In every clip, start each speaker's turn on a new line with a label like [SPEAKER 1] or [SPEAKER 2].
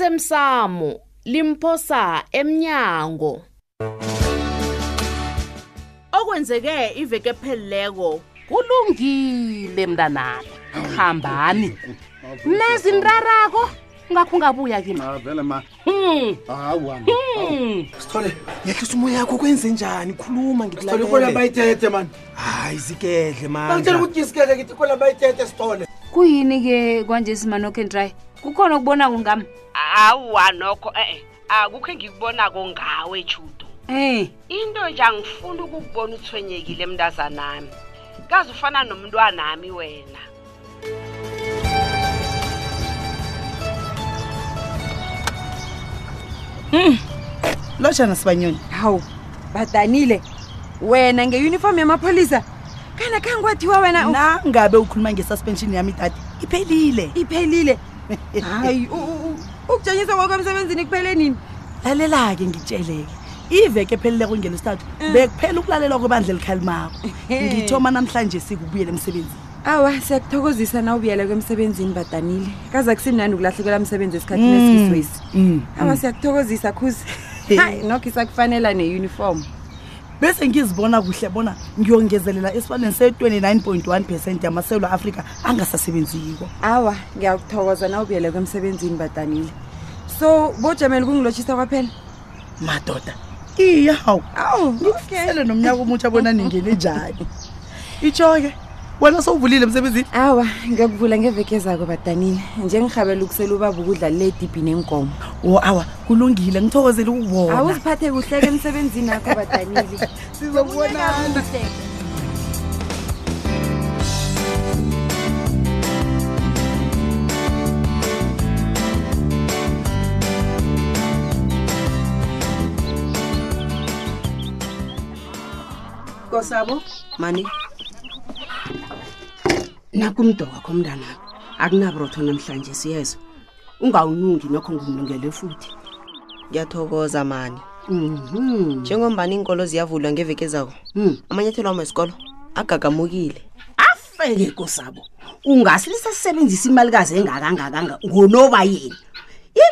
[SPEAKER 1] osemsamo limphosa emnyango okwenzeke iveke pheleleko
[SPEAKER 2] kulungile mntanami hambani nazinrarako ngakho ungabuya kimi
[SPEAKER 3] Ah, vele ma
[SPEAKER 2] Hmm,
[SPEAKER 3] hawa
[SPEAKER 2] hmm.
[SPEAKER 4] sithole
[SPEAKER 5] ngehlisa umoya yakho kwenze njani khuluma
[SPEAKER 4] sithole ikola bayithethe mani
[SPEAKER 5] hayi zigedle
[SPEAKER 4] angitshela ukuthi ngisikeke ngithi ikola bayithethe sithole
[SPEAKER 6] kuyini-ke kwanje simanokhe ndry kukhona ukubonako ngami
[SPEAKER 7] awa nokho eh akukho engikubonako ngawe judo
[SPEAKER 6] um
[SPEAKER 7] into nje angifuni ukukubona uthwenyekile emntazanami kazi ufana nomntwanami wena
[SPEAKER 8] lojana sibanyoni
[SPEAKER 6] hawu badanile wena ngeyunifomu yamapholisa kana khange kwathiwa wena u-
[SPEAKER 8] na ngabe ukhuluma ngesuspension yami dade iphelile
[SPEAKER 6] iphelile hayi u- u- u- ukujanyiswa kwakho emsebenzini kuphele nini
[SPEAKER 8] lalela-ke ngitsheleke iveke ephelileko ngelesithathu bekuphela ukulalelwa kwebandla elikhalimako ngithoma namhlanje sikubuyela emsebenzini
[SPEAKER 6] awa siyakuthokozisa na ubuyeleko emsebenzini badanile kaza kusimnandi ukulahlekelwa msebenzi esikhathini esikiswesi awa siyakuthokozisa khuzi hayi nokho isakufanela neyunifomu
[SPEAKER 8] bese ngizibona kuhle bona ngiyongezelela esifaneni se-29 1 percent yamasewula afrika angasasebenziko
[SPEAKER 6] awa ngiyakuthokoza na ubuyeleko emsebenzini badanile so bojamele ukungilotshisa kwaphela
[SPEAKER 8] madoda iya hawu
[SPEAKER 6] awu
[SPEAKER 8] ele nomnyaka omutsha bona ningene njani itsho-ke wena sowuvulile emsebenzini
[SPEAKER 6] awa ngiyakuvula ngeveke zako badanile njengihabela ukusela ubaba ukudla le dibhini enkomo
[SPEAKER 8] o awa kulungile ngithokozele ukubona
[SPEAKER 6] awuziphathe kuhleke emsebenzini akho badanile
[SPEAKER 8] sizobonana
[SPEAKER 9] kosabo mani nakumdokakho mntanami akunaburotho namhlanje siyezwa ungawunungi nokho ngimlungele futhi
[SPEAKER 10] ngiyathokoza mani
[SPEAKER 9] Mhm.
[SPEAKER 10] njengombani iinkolo ziyavulwa ngeveke zako
[SPEAKER 9] Mm.
[SPEAKER 10] amanyathelo wami wesikolo agagamukile
[SPEAKER 9] afeke kosabo ungasilisasebenzisa imalikazi engakangakanga ngonoba yena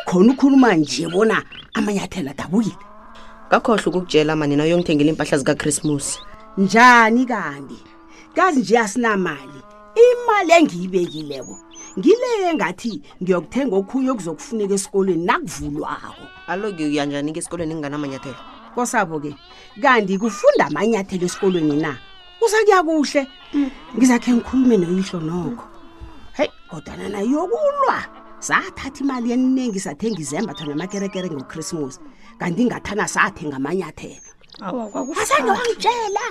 [SPEAKER 9] ikhona ukhuluma nje bona amanyathelo adabukile
[SPEAKER 10] ngakhohlwa ukukutshela mani nayo yongithengela iimpahla zikachrismus
[SPEAKER 9] njani kanti kazi nje asinamali imali engiyibekileko ngile engathi ngiyokuthenga okhunye okuzokufuneka esikolweni nakuvulwako
[SPEAKER 10] alo ngiya njani-ke esikolweni nginganamanyathelo
[SPEAKER 9] kosabo-ke kanti kufunda amanyathelo esikolweni na usakuya kuhle Mm. ngizakhe ngikhulume noyihlo nokho heyi kodwana nayokulwa sathatha imali eningi sathenga izembatho namakerekere ngokrisimusi kanti ingathana sathenga amanyathelo asange wangitshela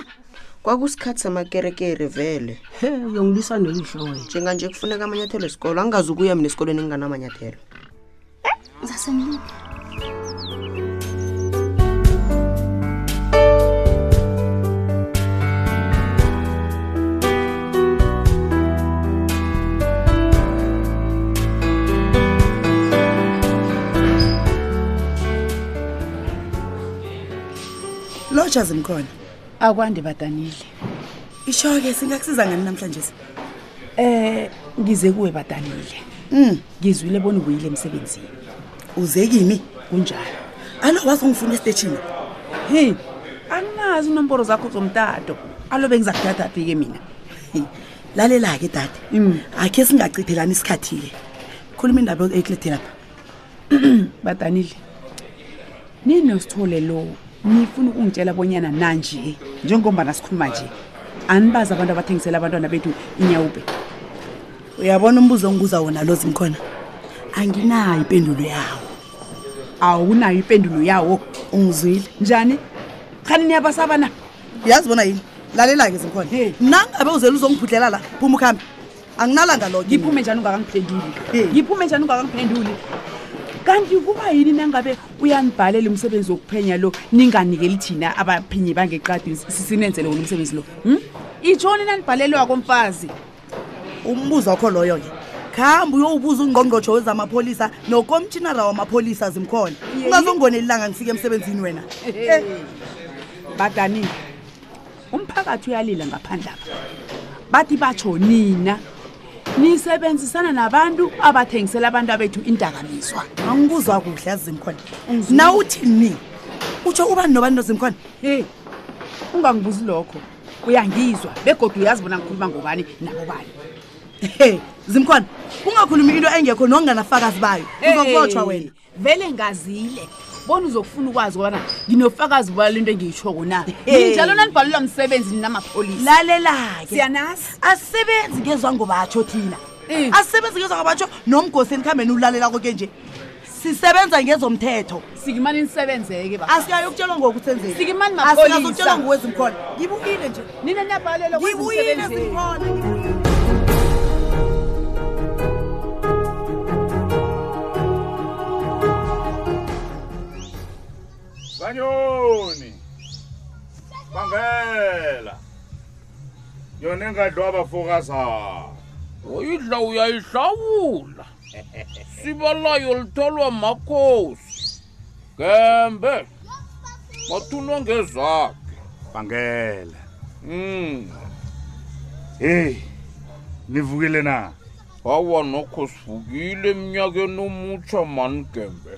[SPEAKER 10] kwakusikhathi samakerekere vele
[SPEAKER 9] he uyongilisa noyihlo wena
[SPEAKER 10] njenganje kufuneka amanyathelo esikolo angazi ukuya mina esikolweni nginganamanyathelo
[SPEAKER 9] zasenlile
[SPEAKER 8] lotsha zimkhona
[SPEAKER 2] akwande badanile
[SPEAKER 8] itsho-ke singakusiza ngani namhlanje
[SPEAKER 2] um ngize kuwe badanile
[SPEAKER 8] um
[SPEAKER 2] ngizwile bona ubuyile emsebenzini
[SPEAKER 8] uze kimi
[SPEAKER 2] kunjalo
[SPEAKER 8] alo waze ungifuna esiteshini
[SPEAKER 2] heyi anginazi inomboro zakho zomtato alobe ngizakuthathaphi-ke mina Hmm.
[SPEAKER 8] lalela-ke dade akhe singachithelani isikhathi-ke khuluma indaba ekulethe lapha
[SPEAKER 2] badanile ninosithole lo nifuna ukungitshela bonyana nanje njengombana sikhuluma nje anibazi abantu abathengisela abantwana bethu inyawube
[SPEAKER 8] uyabona umbuzo ongibuza wona lo zimkhona anginayo impendulo yawo
[SPEAKER 2] awunayo impendulo yawo
[SPEAKER 8] ungizwile
[SPEAKER 2] njani khani niyabasaba na
[SPEAKER 8] yazi bona yini lalela-ke zimkhona
[SPEAKER 2] Hey.
[SPEAKER 8] nangabe uzele uzongiphudlela la phuma ukuhambe anginalanga lo
[SPEAKER 2] ngiphume njani ungakangiphenduli
[SPEAKER 8] Eh.
[SPEAKER 2] ngiphume njani ungakangiphenduli kanti kuba yini nangabe uyanibhalela umsebenzi wokuphenya lo ninganikeli thina abaphenyi bangeqadi si- sinenzele wona umsebenzi lo hmm? itshoni nanibhalelwako mfazi
[SPEAKER 8] umbuzo wakho loyo-ke khambe uyowubuza ungqongqotsho wezamapholisa nokomtshinara wamapholisa zimkhona ungazongonelilanga ngifike emsebenzini wena
[SPEAKER 2] badanile umphakathi uyalila ngaphandle apha bathi batsho nina nisebenzisana nabantu abathengisela abantu abethu indakamizwa
[SPEAKER 8] angikuzwa kuhle azimkhona na uthi ni utsho ubani nobani nozimkhona
[SPEAKER 2] heyi ungangibuzi lokho uyangizwa begodwa uyazibona ngikhuluma ngobani nabobani
[SPEAKER 8] he zimkhona ungakhulumi into engekho nokunganafakazi bayo uzokubotshwa
[SPEAKER 2] Hey,
[SPEAKER 8] wena
[SPEAKER 2] vele ngazile bona uzokufuna ukwazi kobana nginofakazi bala into engiyitshoko na
[SPEAKER 8] Hey.
[SPEAKER 2] ninjalo nanibhalelwa msebenzi ninamapholisa
[SPEAKER 8] lalela-ke
[SPEAKER 2] siyanasi
[SPEAKER 8] asisebenzi ngezwa ngobatsho thina
[SPEAKER 2] Eh.
[SPEAKER 8] asisebenzi ngezwa ngobatsho nomgosini khambeni ulalela koke nje sisebenza ngezomthetho
[SPEAKER 2] sikimani nisebenzeke ba
[SPEAKER 8] asikayo ukutshelwa
[SPEAKER 2] Sikimani
[SPEAKER 8] ngokuthenzeni
[SPEAKER 2] mapholisa.
[SPEAKER 8] asikazokutshelwa ngowezimkhona ngibuyile nje
[SPEAKER 2] nina niyabhalelwa
[SPEAKER 8] ngibuyile
[SPEAKER 2] kwezimsebenzini.
[SPEAKER 8] zimkhona
[SPEAKER 3] banyoni bangela yona engadliwa bafokazana
[SPEAKER 11] uyidla uyayihlawula siba layo litholwa makhosi gembe mathunwa ngezakhe
[SPEAKER 3] bangela
[SPEAKER 11] um
[SPEAKER 3] heyi nivukile na
[SPEAKER 11] awa nokho sivukile eminyakeni omutsha mani gembe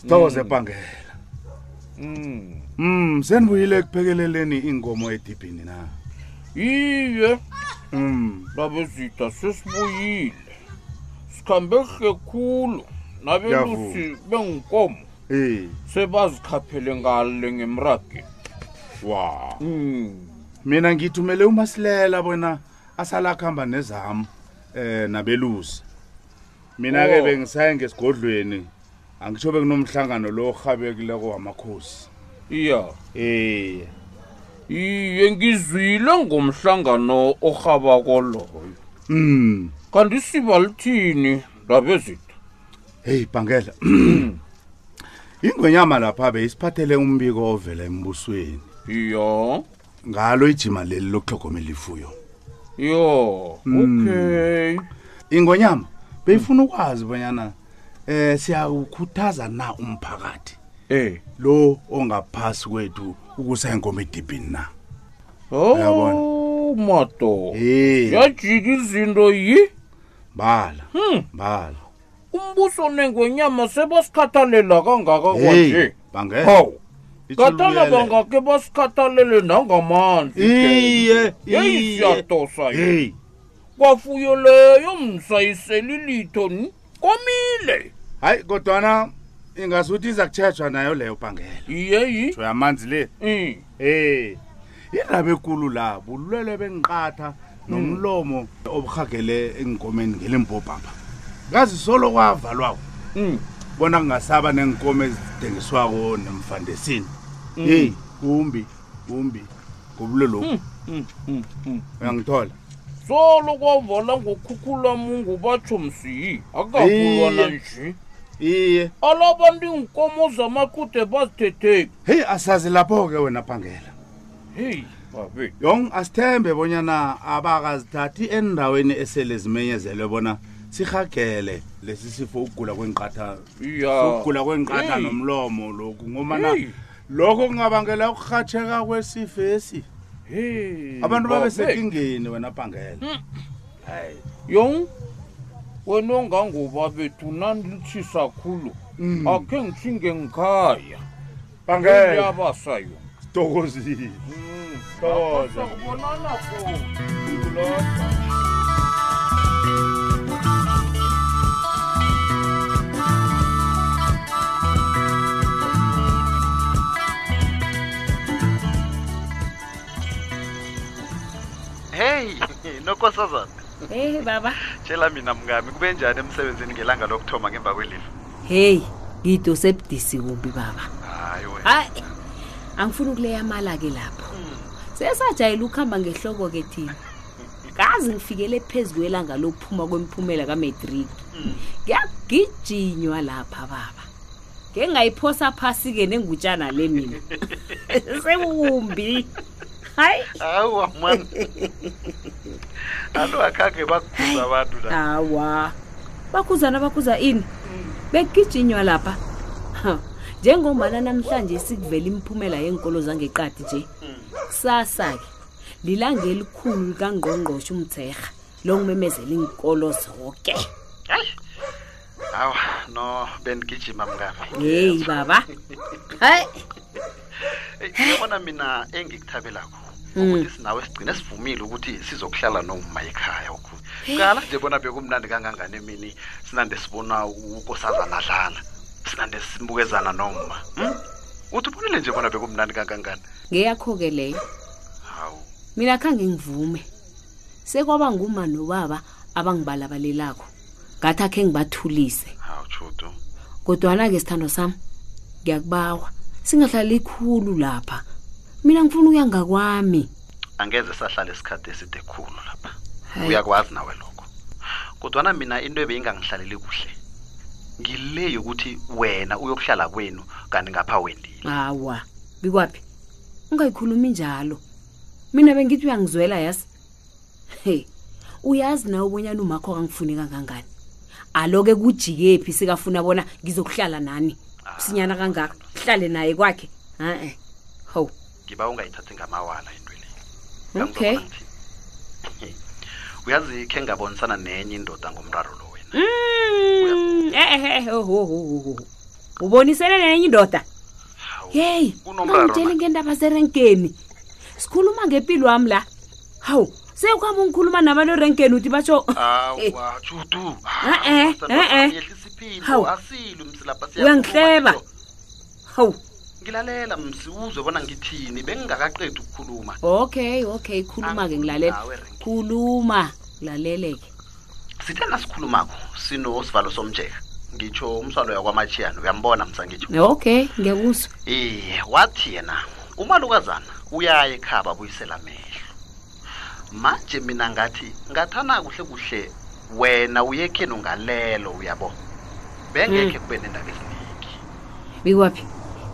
[SPEAKER 3] sithokoze bangela
[SPEAKER 11] um
[SPEAKER 3] mm senibuyile ekuphekeleleni iinkomo edibhini na
[SPEAKER 11] iye
[SPEAKER 3] mm
[SPEAKER 11] nabezida sesibuyile sikhambe kuhle khulu nabelusi
[SPEAKER 3] Ngiyavuma.
[SPEAKER 11] benkomo
[SPEAKER 3] eh
[SPEAKER 11] sebazikhaphele ngale ngemrageni
[SPEAKER 3] wa
[SPEAKER 11] um
[SPEAKER 3] Mm. mina ngithumele umasilela bona asala kuhamba nezam eh nabelusi mina ke
[SPEAKER 11] Oh.
[SPEAKER 3] bengisaye ngesigodlweni angitsho bekunomhlangano lo orhabekileko wamakhosi
[SPEAKER 11] iya
[SPEAKER 3] eh
[SPEAKER 11] iye ngizwile ngomhlangano orhabako loyo
[SPEAKER 3] mm
[SPEAKER 11] kanti siba lithini ndabezitha
[SPEAKER 3] hey bangela ingwenyama lapha beyisiphathele umbiko ovela embusweni
[SPEAKER 11] iya
[SPEAKER 3] ngalo ijima leli lokuhlogomela ifuyo
[SPEAKER 11] yo okay
[SPEAKER 3] ingonyama beyifuna ukwazi bonyana eh siyawukhuthaza na umphakathi
[SPEAKER 11] eh
[SPEAKER 3] lo ongaphasi kwethu ukusa inkomo edibhini na Uyabona.
[SPEAKER 11] o mato
[SPEAKER 3] eh
[SPEAKER 11] yajika izinto yi
[SPEAKER 3] bala bala
[SPEAKER 11] umbuso nengwenyama sebasikhathalela kangaka
[SPEAKER 3] hey
[SPEAKER 11] kwanje
[SPEAKER 3] bangela
[SPEAKER 11] hawu ngathana bangake basikhathalele nangamandla
[SPEAKER 3] iye
[SPEAKER 11] yeyi
[SPEAKER 3] iye
[SPEAKER 11] siyatosa ye
[SPEAKER 3] hey
[SPEAKER 11] kwafuyo leyo msayiseli litho ni komile
[SPEAKER 3] hayi kodwana ingasuthi iza kutshejwa nayo leyo bangela
[SPEAKER 11] iyeyi
[SPEAKER 3] uyamanzi le
[SPEAKER 11] um
[SPEAKER 3] Eh. Indaba enkulu la bulwele benqatha nomlomo obuhagele engomeni ngelembobhapha. Ngazi solo kwavalwa
[SPEAKER 11] um
[SPEAKER 3] bona kungasaba nenkomo ezidengiswako nemfandesini. Hey, kumbi, kumbi.
[SPEAKER 11] Mm.
[SPEAKER 3] Ngobulelo. Uyangithola.
[SPEAKER 11] solo kwavala ngokhukhula mungu batsho msiyi akakulwana
[SPEAKER 3] Iye.
[SPEAKER 11] nje
[SPEAKER 3] Iye.
[SPEAKER 11] alabantu iinkomo zamaqude bazithetheki
[SPEAKER 3] Hey asazi lapho ke wena phangela.
[SPEAKER 11] heyi babe
[SPEAKER 3] Yong asithembe bonyana abakazithathi endaweni esele zimenyezelwe bona sihagele lesi sifo ukugula kwenqatha
[SPEAKER 11] iya
[SPEAKER 3] ukugula kwenqatha
[SPEAKER 11] Hey.
[SPEAKER 3] nomlomo lokhu ngomana
[SPEAKER 11] Hey.
[SPEAKER 3] lokho kungabangela ukurhatsheka kwesifesi
[SPEAKER 11] Hmm. Hey, Hmm.
[SPEAKER 3] abantu babe
[SPEAKER 11] babe.
[SPEAKER 3] sekingeni wena bhangela
[SPEAKER 11] yong wena ongangoba bethu nandilitshisa khulu akhe ngitshinge ngikhaya iyabasa yo
[SPEAKER 3] sithokozile
[SPEAKER 11] Thokoza. Ubonana khona.
[SPEAKER 12] heyi nokosazana
[SPEAKER 6] heyi baba
[SPEAKER 12] tshela mina mngami kube njani emsebenzini ngelanga lokuthoma ngemva kwelifa
[SPEAKER 13] heyi ngidose budisi kumbi baba
[SPEAKER 12] hayi wena
[SPEAKER 13] hayi angifuni ukuleya amala-ke lapho sesajayela ukuhamba ngehloko-ke thina kazi ngifikele phezu kwelanga lokuphuma kwemiphumela kametriki
[SPEAKER 12] Hmm.
[SPEAKER 13] ngiyagijinywa lapha baba ngeke ngayiphosa phasi-ke nengutshana le mina sekumbi hayi
[SPEAKER 12] awa mani alo akhange bakukhuza abantu la
[SPEAKER 13] awa bakhuzana bakhuza ini begijinywa lapha Ha, njengombana namhlanje sikuvela imiphumela yenkolo zangeqadi nje kusasa-ke lilanga elikhulu likangqongqoshe umtserha longimemezela iinkolo zonke
[SPEAKER 12] hayi hawa no bendigijima mngami
[SPEAKER 13] yeyi baba hayi
[SPEAKER 12] uyabona mina engikuthabelakho
[SPEAKER 13] Mm.
[SPEAKER 12] ukuthi sinawe sigcine sivumile ukuthi sizokuhlala nomma ekhaya okhunye kala nje bona bekumnandi kangangani emini sinande sibona ukosazana adlala sinande simbukezana nomma hm? uthi ubonile nje bona bekumnandi kangangani
[SPEAKER 13] ngeyakho-ke leyo
[SPEAKER 12] hawu
[SPEAKER 13] mina khange ngivume sekwaba nguma nobaba abangibalabalelakho ngathi akhe ngibathulise
[SPEAKER 12] hawu tshudu
[SPEAKER 13] kodwana-ke sithando sami ngiyakubawa singahlali ikhulu lapha mina ngifuna ukuya ngakwami
[SPEAKER 12] angeze sahlala isikhathi eside khulu lapha
[SPEAKER 13] Hayi.
[SPEAKER 12] uyakwazi nawe lokho kodwana mina into ebeyingangihlaleli kuhle ngile yokuthi wena uyokuhlala kwenu kanti ngapha wendile
[SPEAKER 13] hawa bikwaphi ungayikhulumi njalo mina bengithi uyangizwela yazi he uyazi nawe ubonyana umakho akangifuni kangangani alo-ke kujikephi sikafuna bona ngizokuhlala nani sinyana kangaka hlale naye kwakhe a-e how
[SPEAKER 12] ngiba ungayithathi ngamawala into le
[SPEAKER 13] okay
[SPEAKER 12] uyazi khe ngabonisana nenye indoda ngomraro lo wena
[SPEAKER 13] Hmm? Mm, e-ehe ohohoho oh, ubonisene nenye indoda yeyi
[SPEAKER 12] kunomraro
[SPEAKER 13] ungangitsheli ngendaba zerenkeni sikhuluma ngempilo wami la hawu sekuhamba ungikhuluma nabantu erenkeni uthi batsho Eh.
[SPEAKER 12] awa Ah, judu
[SPEAKER 13] e-e e-e
[SPEAKER 12] isiphilo
[SPEAKER 13] Hawu.
[SPEAKER 12] asilo msilapha
[SPEAKER 13] uyangihleba hawu
[SPEAKER 12] ngilalela msi uzwe bona ngithini bengingakaqedi ukukhuluma
[SPEAKER 13] okay okay khuluma-ke ngilalela
[SPEAKER 12] nawe, Renke.
[SPEAKER 13] khuluma ngilalele-ke
[SPEAKER 12] sithena sikhulumako sinosivalo somjeka ngitsho umswalo yakwamatshiyana uyambona msa ngitsho
[SPEAKER 13] okay ngiyakuzwa
[SPEAKER 12] iye wathi yena umalukazana uyaya ekhaba buyisela amehlo manje mina ngathi ngathana kuhle kuhle wena uyekheni ungalelo uyabo
[SPEAKER 13] Mm.
[SPEAKER 12] bengekhe kube nendaba eziningi
[SPEAKER 13] bikwaphi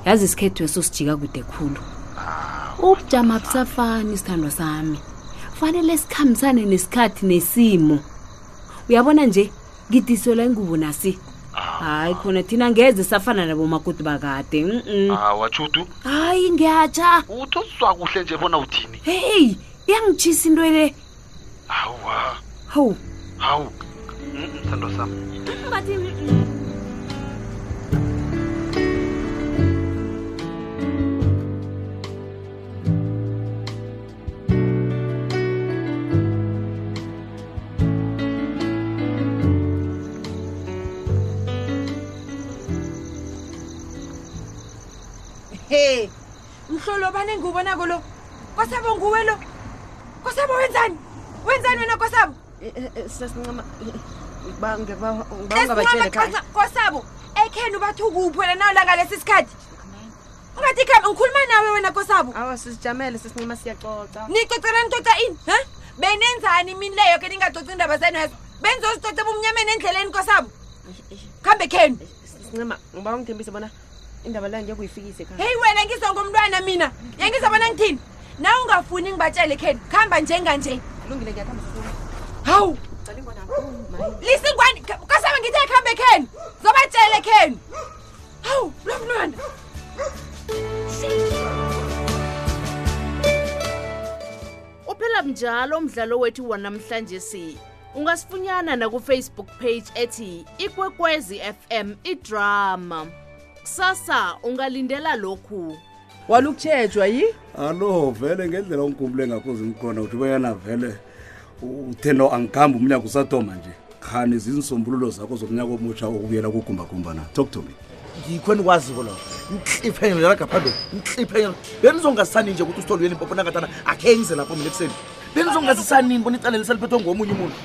[SPEAKER 13] yazi isikhethu esosijika kude khulu ubujama busafani isithandwa sami fanele sikhambisane nesikhathi nesimo uyabona nje ngidisela ingubo nasi hayi khona thina ngeze safana nabomakoti bakade mm-mm.
[SPEAKER 12] awajudu
[SPEAKER 13] hayi ngiyatsha
[SPEAKER 12] uthi uzwa kuhle nje bona uthini
[SPEAKER 13] heyi iyangitshisa into le
[SPEAKER 12] hawa
[SPEAKER 13] hawu
[SPEAKER 12] hawu mthando sami
[SPEAKER 6] he mhlolo bane ngiwubonako lo kosabo nguwe lo kosabo wenzani wenzani wena kosabo
[SPEAKER 10] Eh, sasincama eh,
[SPEAKER 6] Esincama qansa, kosabo ekheni ubathi ukuwuphwela nawo langa lesi sikhathi ungathi khamba ngikhuluma nawe wena kosabo
[SPEAKER 10] awa sizijamele sesincama siyacoca
[SPEAKER 6] nicocela nicoca ini ha benenzani mini leyo ke ningacoci indaba zenu yezo benzozitoca bumnyameni endleleni kosabo
[SPEAKER 10] Eh,
[SPEAKER 6] khambe khenu
[SPEAKER 10] sincama ngiba ungithembise bona indaba leyo ngeke uyifikise ekhaya
[SPEAKER 6] heyi wena ngizongomntwana mina yengizabona ngithini na ungafuni ngibatshele kheni kuhamba njenganje
[SPEAKER 10] kulungile ngiyathamba
[SPEAKER 6] hawu lisingwani kasaba ngithe kuhambe kheni zobatshele kheni hawu lo mntwana
[SPEAKER 1] uphela mnjalo umdlalo wethu wanamhlanje si ungasifunyana nakufacebook page ethi ikwekwezi fm idrama kusasa ungalindela lokhu
[SPEAKER 2] walukutshejwa yi
[SPEAKER 14] alo vele ngendlela ongikumbule ngakho zingikhona ukuthi bayana vele utheno angikhambi umnyaka usatoma nje khani zinsombululo zakho zomnyaka omutsha okubuyela kugumbagumba na talk to me
[SPEAKER 4] ngikho enikwaziko lo nhliphenyelelaka phambili nhliphenyela benizongasisani nje ukuthi usitholuyeni impopo nangatana akhe ngize lapho mina ekuseni benizongasisani bona icalele seliphethwe ngomunye umuntu